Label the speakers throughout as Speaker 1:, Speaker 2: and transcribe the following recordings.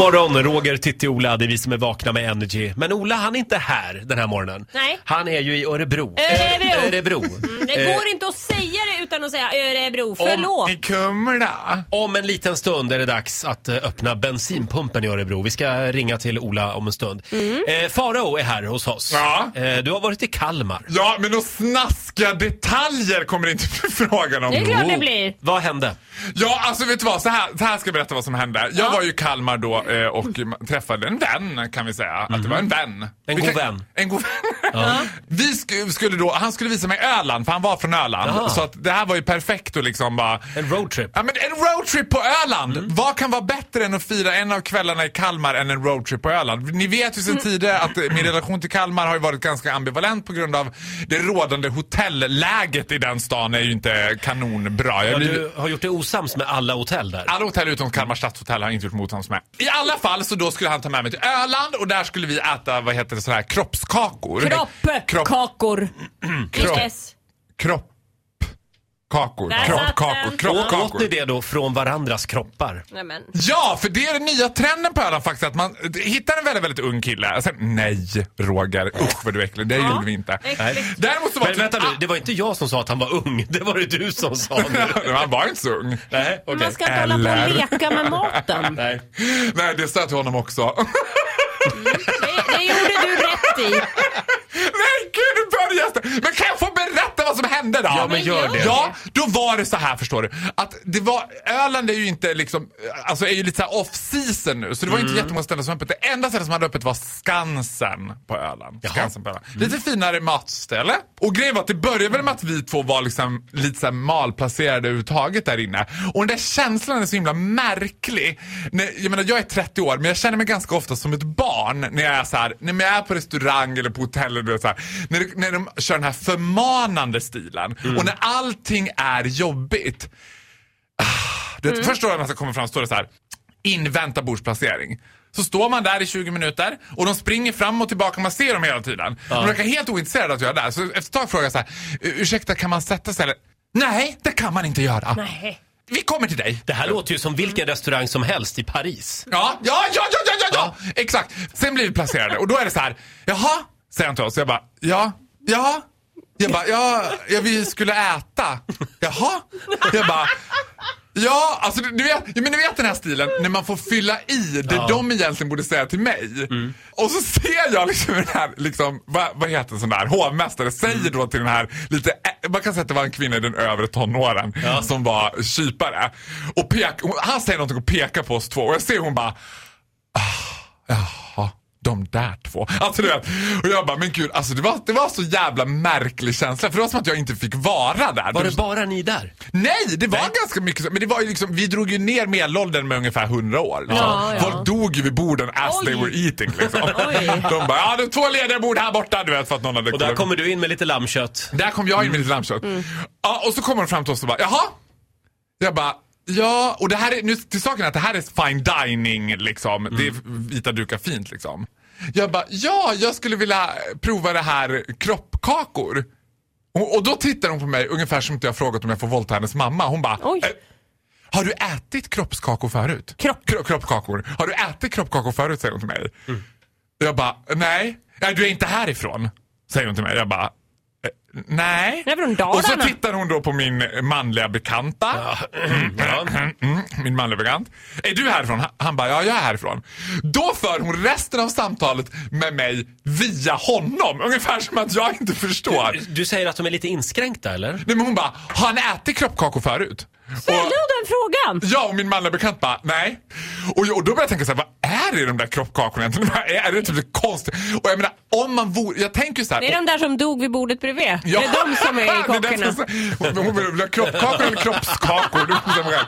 Speaker 1: morgon, Roger, Titti, Ola. Det är vi som är vakna med Energy. Men Ola, han är inte här den här morgonen.
Speaker 2: Nej.
Speaker 1: Han är ju i Örebro. Eh,
Speaker 2: Örebro. Mm,
Speaker 1: Örebro.
Speaker 2: Det går inte att säga det utan att säga Örebro. Förlåt.
Speaker 3: Eh. I Kumla.
Speaker 1: Eh, Om en liten stund är det dags att eh, öppna bensinpumpen i Örebro. Vi ska ringa till Ola om en stund.
Speaker 2: Mm.
Speaker 1: Eh, Farao är här hos oss.
Speaker 3: Ja.
Speaker 1: Eh, du har varit i Kalmar.
Speaker 3: Ja, men några snaskiga detaljer kommer det inte bli frågan om.
Speaker 2: Det är klart det blir.
Speaker 1: Vad hände?
Speaker 3: Ja, alltså vet du vad? Så här, så här ska jag berätta vad som hände. Jag var ju i Kalmar då eh, och ma- träffade en vän kan vi säga. Att det var en vän.
Speaker 1: Mhm. En
Speaker 3: Vi
Speaker 1: god vän.
Speaker 3: En god vän. Vi sk- skulle då, han skulle visa mig Öland för han var från Öland.
Speaker 1: Jaha.
Speaker 3: Så att det här var ju perfekt och liksom bara...
Speaker 1: En roadtrip.
Speaker 3: Ja, men en roadtrip på Öland!
Speaker 1: Mm.
Speaker 3: Vad kan vara bättre än att fira en av kvällarna i Kalmar än en roadtrip på Öland? Ni vet ju sedan
Speaker 1: Mm.
Speaker 3: tidigare att eh, min relation till Kalmar har ju varit ganska ambivalent på grund av det rådande hotelläget i den stan är ju inte kanonbra. Jag
Speaker 1: Ja,
Speaker 3: blir-
Speaker 1: du har gjort dig osams med alla hotell där.
Speaker 3: alla hotell utom Kalmar stadshotell har jag inte gjort motstånd med. I alla fall så då skulle han ta med mig till Öland och där skulle vi äta, vad heter det, sådana här kroppskakor.
Speaker 2: Kropp,
Speaker 3: Kropp,
Speaker 2: kakor.
Speaker 3: Kropp.
Speaker 2: Yes.
Speaker 3: kropp, kakor,
Speaker 2: Där satt
Speaker 3: kroppkakor,
Speaker 1: Åt
Speaker 2: den.
Speaker 1: ni
Speaker 3: kroppkakor.
Speaker 1: det då från varandras kroppar?
Speaker 2: Nej, men.
Speaker 3: Ja, för det är den nya trenden på Öland faktiskt, att man eh, hittar en väldigt, väldigt ung kille. Och Sen, nej, Roger, usch vad du är äcklig, det gjorde vi inte.
Speaker 2: äckligt.
Speaker 3: Däremot så var
Speaker 1: Men vänta nu, det var inte jag som sa att han var ung. Det var det du som sa nu.
Speaker 3: Ah, Han var inte så ung.
Speaker 1: Nej, okej.
Speaker 2: Man ska inte hålla på och
Speaker 3: Eller-
Speaker 2: leka med maten.
Speaker 1: Nej.
Speaker 3: Nej, det stötte honom också.
Speaker 2: Det, det gjorde du rätt i.
Speaker 3: Nej gud, nu börjar det! Men kan jag få berätta vad som hände då?
Speaker 1: Ja, men gör det.
Speaker 3: Ja, då var det så här förstår du. Att det var, Öland är ju inte liksom, alltså är ju lite så här off season nu. Så det var ju inte
Speaker 1: Mm.
Speaker 3: jättemånga ställen som var öppet. Det enda stället som hade öppet var Skansen på Öland. Skansen på Öland. Lite finare matställe. Och grejen var att det började väl med att vi två var liksom lite så här malplacerade överhuvudtaget där inne. Och den där känslan är så himla märklig. När, jag menar jag är 30 år men jag känner mig ganska ofta som ett barn när jag är så här, när jag är på restaurang eller på hotell eller du vet så här, när, det- när de kör den här förmanande stilen och när allting är jobbigt. Ah, Du vet, Först då när man ska komma fram står det så här, invänta bordsplacering. Så står man där i 20 minuter och de springer fram och tillbaka, man ser dem hela tiden. De verkar helt ointresserade av att jag är där. Så efter ett tag frågar jag så här, "U- ursäkta kan man sätta sig eller? Nej, det kan man inte göra.
Speaker 2: Nej.
Speaker 3: Vi kommer till dig.
Speaker 1: Det här låter ju som vilken restaurang som helst i Paris.
Speaker 3: Ja, ja, ja, ja, ja, ja, ja. exakt. Sen blir vi placerade och då är det så här, jaha, säger han till oss. Jag bara, ja, ja. Jag bara, ja, ja vi skulle äta. Jaha? Jag bara, ja, alltså du, du, vet, ja, men du vet den här stilen när man får fylla i det de egentligen borde säga till mig. Och så ser jag liksom den här, liksom, vad, vad heter en sån där hovmästare säger då till den här lite, ä- man kan säga att det var en kvinna i den övre tonåren som var kypare. Och pek, hon- han säger någonting och pekar på oss två och jag ser hon bara ah, Jaha, de där två. Alltså du vet. Och jag bara, men gud, alltså det var, det var så jävla märklig känsla. För det var som att jag inte fick vara där.
Speaker 1: Var
Speaker 3: Det-
Speaker 1: det bara ni där?
Speaker 3: Nej, det var
Speaker 1: Nej.
Speaker 3: ganska mycket så- Men det var ju liksom, vi drog ju ner medelåldern med ungefär 100 år. Liksom.
Speaker 2: Ja, ja.
Speaker 3: Folk dog ju vid borden as
Speaker 2: Oj.
Speaker 3: they were eating. Liksom.
Speaker 2: Oj.
Speaker 3: De bara, ja det är två lediga bord här borta. Du vet, för att någon hade
Speaker 1: Och där
Speaker 3: kollat-
Speaker 1: kommer du in med lite lammkött.
Speaker 3: där kom jag in med lite lammkött. Ja, och så kommer de fram till oss och bara, jaha? Jag bara, ja, och det här är, nu till saken är att det här är fine dining liksom. Det är vita dukar fint liksom. Jag bara, ja, jag skulle vilja prova det här kroppkakor. Och, och då tittar hon på mig ungefär som inte jag frågat om jag får våldta hennes mamma. Hon bara,
Speaker 2: Oj.
Speaker 3: "Eh, har du ätit kroppskakor förut?
Speaker 2: Kropp.
Speaker 3: Kro- kroppkakor. Har du ätit kroppkakor förut? säger hon till mig. Jag bara, nej. nej, du är inte härifrån. Säger hon till mig. Jag bara, eh, nej.
Speaker 2: Nej, från Dalarna.
Speaker 3: Och så tittar hon då på min manliga bekanta.
Speaker 1: Ja.
Speaker 3: Mm, min manliga bekant. Är du härifrån? Han bara, ja jag är härifrån. Då för hon resten av samtalet med mig via honom. Ungefär som att jag inte förstår.
Speaker 1: Du säger att de är lite inskränkta eller?
Speaker 3: Nej, men hon bara, har han ätit kroppkakor förut?
Speaker 2: Ställde du
Speaker 3: Och-
Speaker 2: den frågan?
Speaker 3: Ja, och min manliga bekant bara, nej. Och, jag, och då började jag tänka så här, vad är det i de där kroppkakorna egentligen? Vad är, är det typ lite konstigt? Och jag menar, om man vore, jag tänker så här.
Speaker 2: Det är de där som dog vid bordet bredvid.
Speaker 3: Ja.
Speaker 2: Det är de som är i
Speaker 3: Det där
Speaker 2: kockarna.
Speaker 3: som- Hon- Hon vill ha kroppkakor eller kroppskakor. Du bestämmer själv.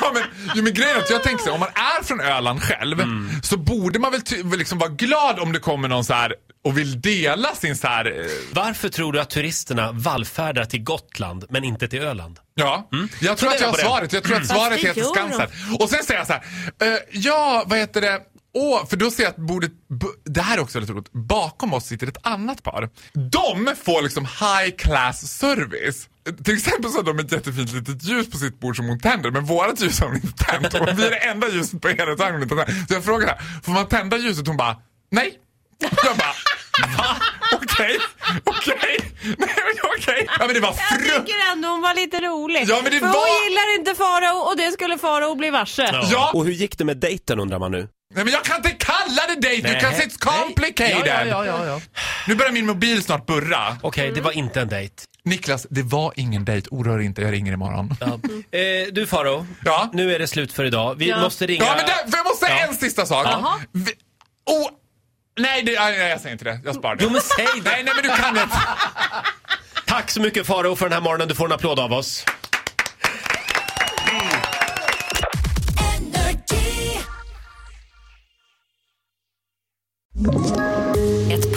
Speaker 3: Ja, men, jo, men grejen är att jag tänker så här, om man är från Öland själv så borde man väl ty- väl liksom vara glad om det kommer någon så här och vill dela sin så här, eh,
Speaker 1: Varför tror du att turisterna vallfärdar till Gotland men inte till Öland?
Speaker 3: Ja, jag tror att jag har
Speaker 1: Mm. Fundera på det. Mm.
Speaker 3: svaret. Jag tror att svaret
Speaker 2: Fast det
Speaker 3: heter
Speaker 2: gör
Speaker 3: Skansen. Och sen säger jag så här, eh, ja, vad heter det? Åh, för då ser jag att bordet, b- det här är också väldigt roligt, bakom oss sitter ett annat par. De får liksom high class service. till exempel så hade de ett jättefint litet ljus på sitt bord som hon tänder, men vårat ljus har hon inte tänt. Och vi är det enda ljuset på hela restaurangen hon inte har tänt. Så jag frågade henne, får man tända ljuset? Hon bara, nej. Jag bara, va? Okej, okej, nej men okej. Ja men det var
Speaker 2: Jag
Speaker 3: fruktansvärt.
Speaker 2: tycker ändå hon var lite rolig.
Speaker 3: Ja, men det
Speaker 2: För
Speaker 3: var-
Speaker 2: hon gillar inte Farao och det skulle Farao bli varse.
Speaker 3: Ja.
Speaker 1: Och hur gick det med dejten undrar man nu?
Speaker 3: Nej men jag kan inte kalla det dejt,
Speaker 1: Nej.
Speaker 3: because it's complicated.
Speaker 1: Ja, ja, ja, ja, ja.
Speaker 3: Nu börjar min mobil snart burra.
Speaker 1: Okej, det var inte en dejt.
Speaker 3: Niklas, det var ingen dejt. Oroa dig inte, jag ringer imorgon. Ja,
Speaker 1: Eh, du Faro,
Speaker 3: Ja.
Speaker 1: nu är det slut för idag. Vi
Speaker 2: Ja.
Speaker 1: måste ringa...
Speaker 3: men där, för jag måste säga
Speaker 1: Ja.
Speaker 3: en sista sak.
Speaker 2: Jaha.
Speaker 3: Vi, oh, nej, det, nej, nej, jag säger inte det. Jag sparar det.
Speaker 1: Jo men säg det!
Speaker 3: Nej, nej men du kan inte.
Speaker 1: Tack så mycket Faro för den här morgonen. Du får en applåd av oss.
Speaker 4: Ett